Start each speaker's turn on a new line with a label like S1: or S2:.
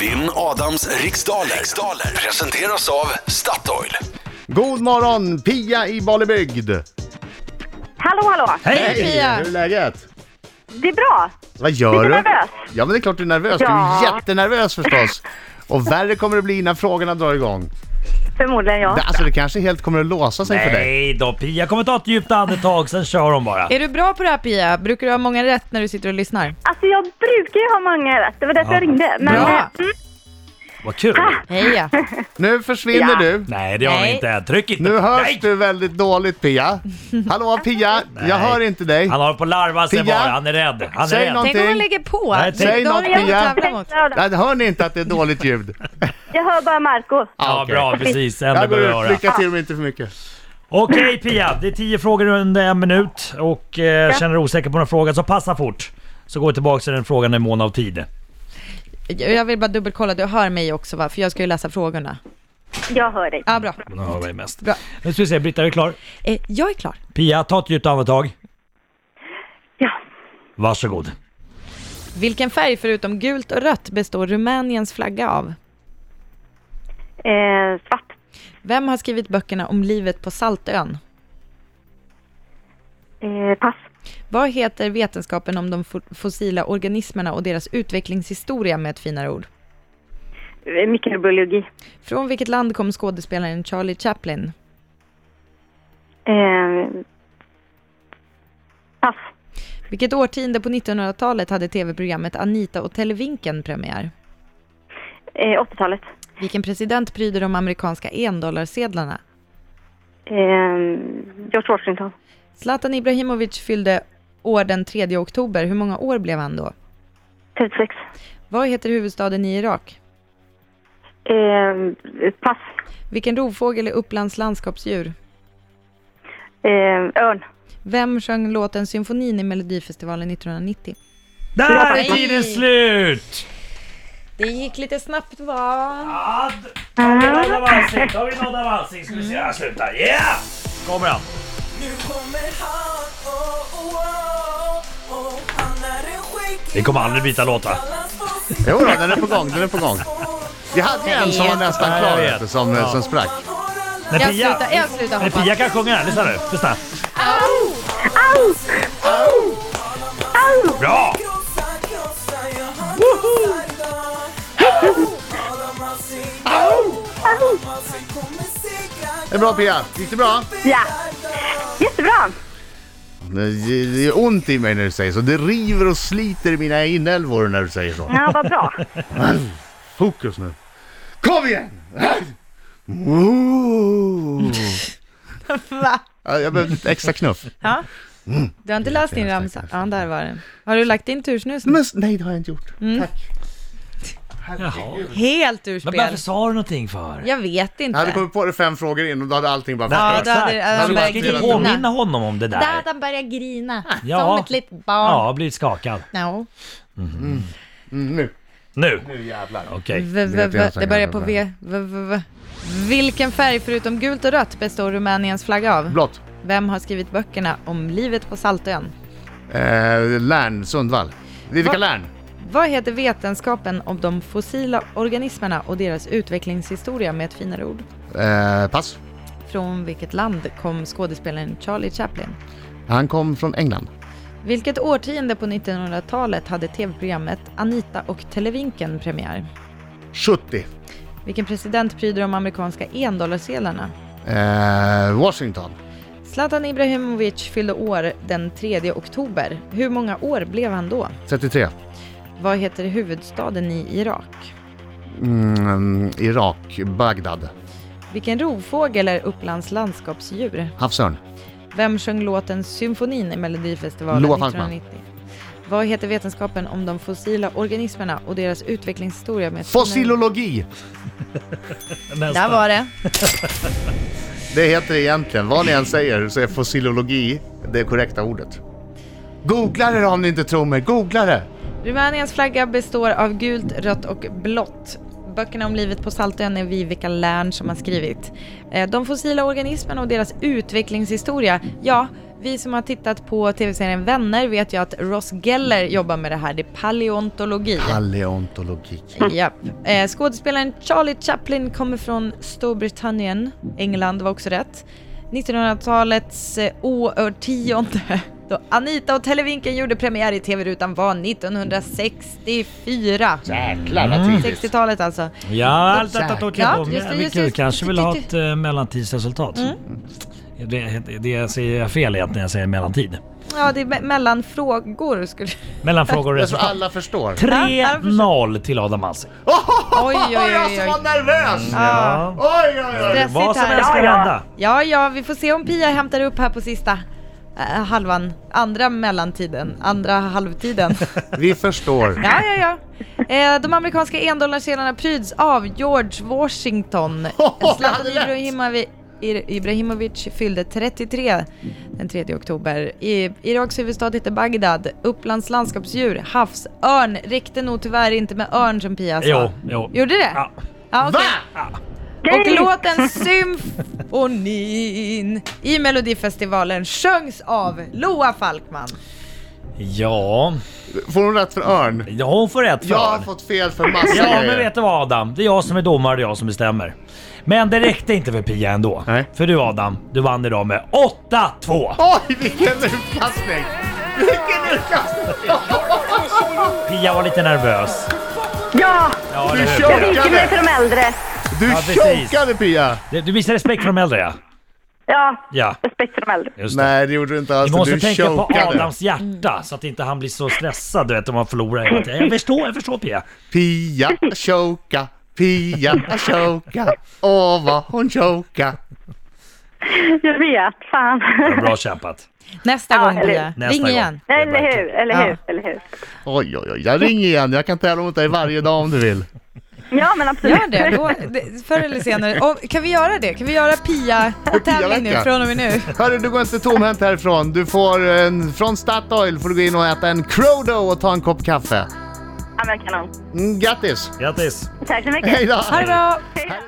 S1: Vinn Adams riksdaler. riksdaler presenteras av Statoil.
S2: God morgon Pia i Balebygd!
S3: Hallå, hallå!
S4: Hej Pia!
S2: Hur är läget?
S3: Det är bra.
S2: Vad gör
S3: Lite
S2: du?
S3: nervös.
S2: Ja men det är klart du är nervös, du är
S3: Ja.
S2: jättenervös förstås! Och värre kommer det bli när frågorna drar igång.
S3: Förmodligen jag.
S2: Det- Alltså det kanske helt kommer att låsa sig för dig. Eh,
S4: Nej då Pia, kommer ta ett djupt andetag sen kör hon bara.
S5: Är du bra på det här Pia? Brukar du ha många rätt när du sitter och lyssnar?
S3: Alltså jag brukar ju ha många rätt, det var därför
S4: Ja.
S3: jag ringde. Men
S4: Bra.
S3: eh, mm,
S4: Vad kul!
S2: ah!
S5: Heja!
S2: Nu försvinner
S3: Ja.
S2: du!
S4: Nej det gör hon
S5: Nej.
S4: inte än. Tryck inte!
S2: Nu hörs
S4: Nej!
S2: du väldigt dåligt Pia. Hallå Pia, jag hör inte dig.
S4: Han har på att larva sig
S2: Pia?
S4: bara, han är rädd. Han är
S2: Säg
S4: rädd.
S2: någon-
S5: Tänk om
S2: Någonting.
S5: hon lägger på!
S4: Nej, tänk-
S2: Säg
S5: Då har
S2: något,
S5: vi något
S2: Pia.
S5: att tävla mot.
S2: Nej, Hör ni inte att det är dåligt ljud?
S3: jag hör bara Marco.
S4: Ja
S2: Ah, okej.
S4: bra, precis. Ändå
S2: Jag går
S4: behöver
S2: ut,
S4: höra.
S2: lycka till men inte för mycket.
S4: Okej Pia, det är tio frågor under en minut och eh, känner du osäker på någon fråga så passa fort. Så går vi tillbaka till den frågan i mån av tid.
S5: Jag vill bara dubbelkolla, du hör mig också va? För jag ska ju läsa frågorna.
S3: Jag hör dig.
S5: Ja, bra.
S4: Nu hör vi mest.
S5: Bra.
S4: Nu ska vi se, Britta är du klar?
S5: Eh, jag är klar.
S4: Pia, ta ett djupt andetag.
S3: Ja.
S4: Varsågod.
S5: Vilken färg förutom gult och rött består Rumäniens flagga av?
S3: Eh, svart.
S5: Vem har skrivit böckerna om livet på Saltön?
S3: Eh, pass.
S5: Vad heter vetenskapen om de fo- fossila organismerna och deras utvecklingshistoria med ett finare ord?
S3: Eh, Mikrobiologi.
S5: Från vilket land kom skådespelaren Charlie Chaplin?
S3: Eh, pass.
S5: Vilket årtionde på 1900-talet hade tv-programmet Anita och Televinken premiär?
S3: Eh, 80-talet.
S5: Vilken president pryder de amerikanska endollarsedlarna?
S3: Eh, George Washington.
S5: Zlatan Ibrahimovic fyllde år den 3 oktober. Hur många år blev han då?
S3: 36.
S5: Vad heter huvudstaden i Irak?
S3: Eh, pass.
S5: Vilken rovfågel är Upplands landskapsdjur?
S3: Eh, örn.
S5: Vem sjöng låten Symfonin i Melodifestivalen 1990?
S4: Där är
S5: Nej.
S4: tiden slut!
S5: Det gick lite snabbt va?
S4: Ja, d- Tar vi en Adam Alsing, tar vi en Adam Alsing ska vi se. Ja, sluta. Yeah! Kommer han.
S6: Nu kommer han, oh, oh, oh, oh. Han är en skäggig
S4: Vi kommer aldrig byta låtar.
S6: man. Kallas för sin
S2: Jo då, den är på gång, den är på gång. Vi hade ju en som var nästan
S4: Ja,
S2: klar
S4: jag vet.
S2: vet du, som, som sprack.
S4: Men
S5: Jag
S4: Pia,
S5: slutar, jag slutar
S4: men
S5: hoppa.
S4: Pia kan sjunga den. Lyssna nu. Lyssna. Bra!
S6: Krossa, krossa, ja, han krossar idag. Adam Alsing, Adam Alsing kommer segra.
S2: Det är bra Pia, gick det bra?
S3: Ja. Jättebra.
S2: Det det gör ont i mig när du säger så. Det river och sliter i mina inälvor när du säger så.
S3: Ja, vad bra.
S2: Fokus nu. Kom igen! Ooh.
S5: Va?
S2: Ja, Jag behövde ett extra knuff.
S5: Ja. Du har inte läst din ramsa? Ja, där var den. Har du lagt in tursnus nu?
S2: Men s- nej, det har jag inte gjort.
S5: Mm.
S2: Tack. Herregud.
S5: Helt ur
S4: Men
S5: spel.
S4: varför sa du någonting för?
S5: Jag vet
S2: Jag hade
S5: inte.
S2: kommit på det fem frågor in och då hade allting bara
S5: Ja,
S2: förstörts.
S5: då hade
S4: exakt.
S5: Adam
S4: Du
S2: börjat
S4: ska inte
S2: grina.
S4: påminna honom om det där.
S5: Dadan börjar grina,
S4: Ah, Ja.
S5: som ett litet barn.
S4: Ja, blivit skakad.
S5: No.
S2: Mm, nu.
S4: Nu!
S2: Nu jävlar.
S4: Okej.
S5: V- v- v- Det börjar på V. v- v- v. Vilken färg förutom gult och rött består Rumäniens flagga av?
S2: Blått.
S5: Vem har skrivit böckerna om livet på Saltön?
S2: Eh, Lärn, Sundvall. Vivica
S5: Va?
S2: Lärn.
S5: Vad heter vetenskapen om de fossila organismerna och deras utvecklingshistoria med ett finare ord?
S2: Eh, pass.
S5: Från vilket land kom skådespelaren Charlie Chaplin?
S2: Han kom från England.
S5: Vilket årtionde på 1900-talet hade tv-programmet Anita och Televinken premiär?
S2: 70.
S5: Vilken president pryder de amerikanska endollarsedlarna?
S2: Eh, Washington.
S5: Zlatan Ibrahimovic fyllde år den 3 oktober. Hur många år blev han då?
S2: 33.
S5: Vad heter huvudstaden i Irak?
S2: Mm, Irak, Bagdad.
S5: Vilken rovfågel är Upplands landskapsdjur?
S2: Havsörn.
S5: Vem sjöng låten Symfonin i Melodifestivalen
S2: Loa Falkman.
S5: 1990? Vad heter vetenskapen om de fossila organismerna och deras utvecklingshistoria med...
S2: Fossilologi.
S5: Där var Mm. det.
S2: Det heter det egentligen. Vad ni än säger så är fossilologi det korrekta ordet. Googla det då om ni inte tror mig. Googla det!
S5: Rumäniens flagga består av gult, rött och blått. Böckerna om livet på Saltön är Vivica Lärn som har skrivit. Eh, De fossila organismerna och deras utvecklingshistoria, ja, Vi som har tittat på tv-serien Vänner vet ju att Ross Geller jobbar med det här, det är paleontologi.
S2: Paleontologi.
S4: Mm.
S5: Japp. Eh, skådespelaren Charlie Chaplin kommer från Storbritannien, England var också rätt. 1900-talets eh, årtionde då Anita och Televinken gjorde premiär i tv-rutan var 1964.
S2: Jäklar vad tidigt.
S5: 60-talet alltså.
S4: Ja, allt detta tog jag
S5: Ja,
S4: på.
S5: just det,
S4: Men
S5: just
S4: Gud,
S5: det. Mm.
S4: kanske vill ha ett eh, mellantidsresultat. Det, det, jag säger jag fel egentligen när jag säger mellantid.
S5: Ja, det är me- mellan frågor skulle
S4: Mellanfrågor och
S2: Jag tror
S4: resultat.
S2: alla förstår.
S4: 3-0 till Adam Alsing.
S5: Oj, oj, oj,
S2: Jag som
S5: oj.
S2: var nervös!
S4: Ja.
S2: Oj, oj, oj.
S5: Stressigt
S4: Vad som
S5: här.
S4: helst kan hända.
S5: Ja, ja, vi får se om Pia hämtar upp här på sista eh, halvan, andra mellantiden, andra halvtiden.
S2: Vi förstår.
S5: Ja, ja, ja. Eh, de amerikanska endollarsedlarna pryds av George Washington.
S2: jag hade
S5: Zlatan
S2: rätt.
S5: Ibrahimovi- Ir- Ibrahimovic fyllde 33 den 3 oktober. I Iraks huvudstad heter Bagdad. Upplands landskapsdjur, havsörn. Räckte nog tyvärr inte med örn som Pia sa.
S4: Jo, jo.
S5: Gjorde det?
S4: Ja.
S5: Ja, okej.
S2: Va?
S5: Och låten Symfonin i Melodifestivalen sjöngs av Loa Falkman.
S4: Ja,
S2: Får hon rätt för örn?
S4: ja, hon får rätt för
S2: Jag har
S4: ja,
S2: fått fel för massa
S4: ja,
S2: grejer.
S4: men vet du vad Adam? Det är jag som är domare och det är jag som bestämmer. Men det räckte inte för Pia ändå.
S2: Nej.
S4: För du Adam, du vann idag med 8-2.
S2: Oj, vilken utkastning! Vilken utkastning!
S4: Pia var lite nervös.
S3: Ja,
S4: Ja,
S2: Du
S4: eller hur,
S2: kör!
S4: Pia?
S3: jag viker mig för de äldre.
S2: Du
S4: Ja, precis.
S2: chokade Pia!
S4: Du- Du visar respekt för de äldre ja.
S3: Ja,
S4: Ja,
S3: respekt för de äldre.
S4: just det.
S2: Nej, det gjorde du inte alls.
S4: Du måste
S2: du
S4: tänka på
S2: chokade.
S4: Adams hjärta så att inte han blir så stressad du vet om han förlorar. hela tiden. Jag förstår, jag förstår Pia.
S2: Pia choka, Pia choka. Åh, vad hon choka.
S3: Jag vet, fan.
S4: Bra kämpat.
S5: Nästa
S3: Ja,
S5: gång
S3: eller-
S5: Pia.
S4: Nästa
S5: Ring
S4: gång.
S5: igen.
S3: Eller hur, eller hur, eller hur.
S2: Oj, oj, oj. Jag ringer igen. Jag kan tävla mot dig varje dag om du vill.
S3: Ja, men absolut.
S5: Gör det, då, det förr eller senare. Och, kan vi göra det? Kan vi göra Pia-tävling nu
S2: Pia-vecka.
S5: från och med nu?
S2: Hörru, du går inte tomhänt härifrån. Du får eh, en, från Statoil får du gå in och äta en Crodo och ta en kopp kaffe.
S3: Ja, men kanon.
S2: Mm, grattis!
S4: Grattis!
S3: Tack så mycket.
S2: Hej då!
S5: Ha det bra!